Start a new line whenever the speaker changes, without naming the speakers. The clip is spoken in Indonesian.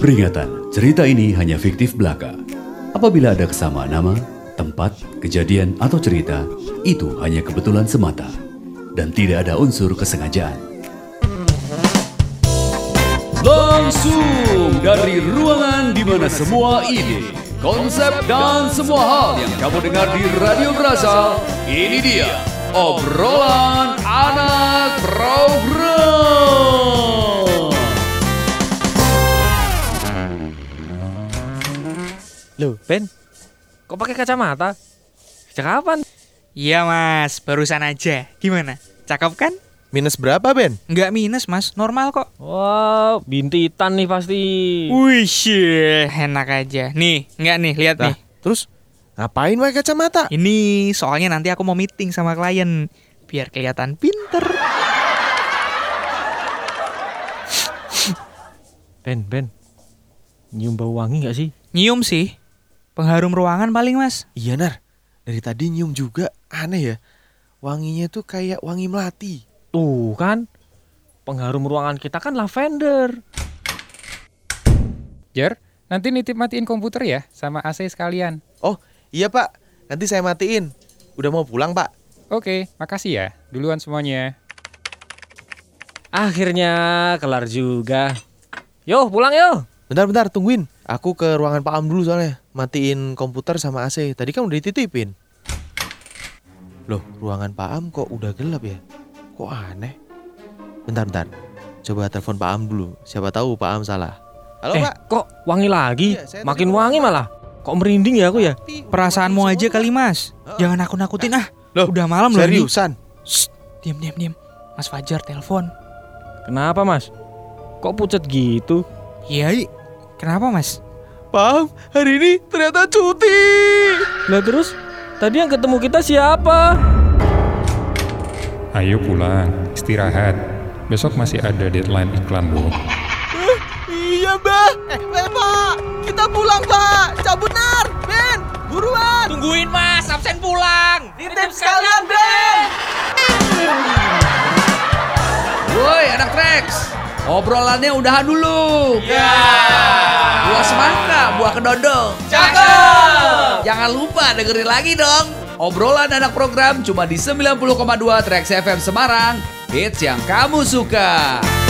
Peringatan, cerita ini hanya fiktif belaka. Apabila ada kesamaan nama, tempat, kejadian, atau cerita, itu hanya kebetulan semata. Dan tidak ada unsur kesengajaan. Langsung dari ruangan di mana semua ide, konsep, dan semua hal yang kamu dengar di Radio Berasal, ini dia obrolan anak program.
Loh, Ben. Kok pakai kacamata? Sejak kapan?
Iya mas, barusan aja. Gimana? Cakep kan?
Minus berapa Ben?
Nggak minus mas, normal kok.
Wah, bintitan nih pasti.
Wih, syeh, enak aja. Nih, nggak nih, lihat
Nah,
nih.
terus ngapain pakai kacamata?
Ini soalnya nanti aku mau meeting sama klien, biar kelihatan pinter.
Ben, Ben. Nyium bau wangi gak sih?
Nyium sih, pengharum ruangan paling mas.
Iya Nar, dari tadi nyium juga aneh ya. Wanginya tuh kayak wangi melati.
Tuh kan. Pengharum ruangan kita kan lavender.
Jer, nanti nitip matiin komputer ya sama AC sekalian.
Oh iya Pak, nanti saya matiin. Udah mau pulang Pak.
Oke, makasih ya. Duluan semuanya.
Akhirnya kelar juga. Yo, pulang yo.
Bentar-bentar tungguin. Aku ke ruangan Pak Am dulu soalnya. Matiin komputer sama AC. Tadi kan udah dititipin. Loh, ruangan Pak Am kok udah gelap ya? Kok aneh? Bentar-bentar. Coba telepon Pak Am dulu. Siapa tahu Pak Am salah. Halo
eh,
Pak.
kok wangi lagi?
Iya, saya
Makin
tadi
wangi malah. Kok merinding ya aku ya?
Perasaanmu aja kali mas, jangan aku nakutin ah.
Loh,
udah malam loh ini.
Seriusan?
Shh, diam diam diam. Mas Fajar telepon.
Kenapa, Mas? Kok pucet gitu?
Iya, I. kenapa mas?
Paham, hari ini ternyata cuti.
Nah, terus tadi yang ketemu kita siapa?
Ayo pulang, istirahat. Besok masih ada deadline iklan loh.
Iya, Mbak. Eh, Pak, kita pulang, Pak. Cabut, Nar. Ben, buruan.
Tungguin mas, absen pulang. ya, Nitip sekalian.
Woi anak Rex, obrolannya udahan dulu. Ya. Buah semangka, buah kedondong. Cakep. Jangan lupa dengerin lagi dong. Obrolan anak program cuma di 90,2 Trax FM Semarang. Hits yang kamu suka.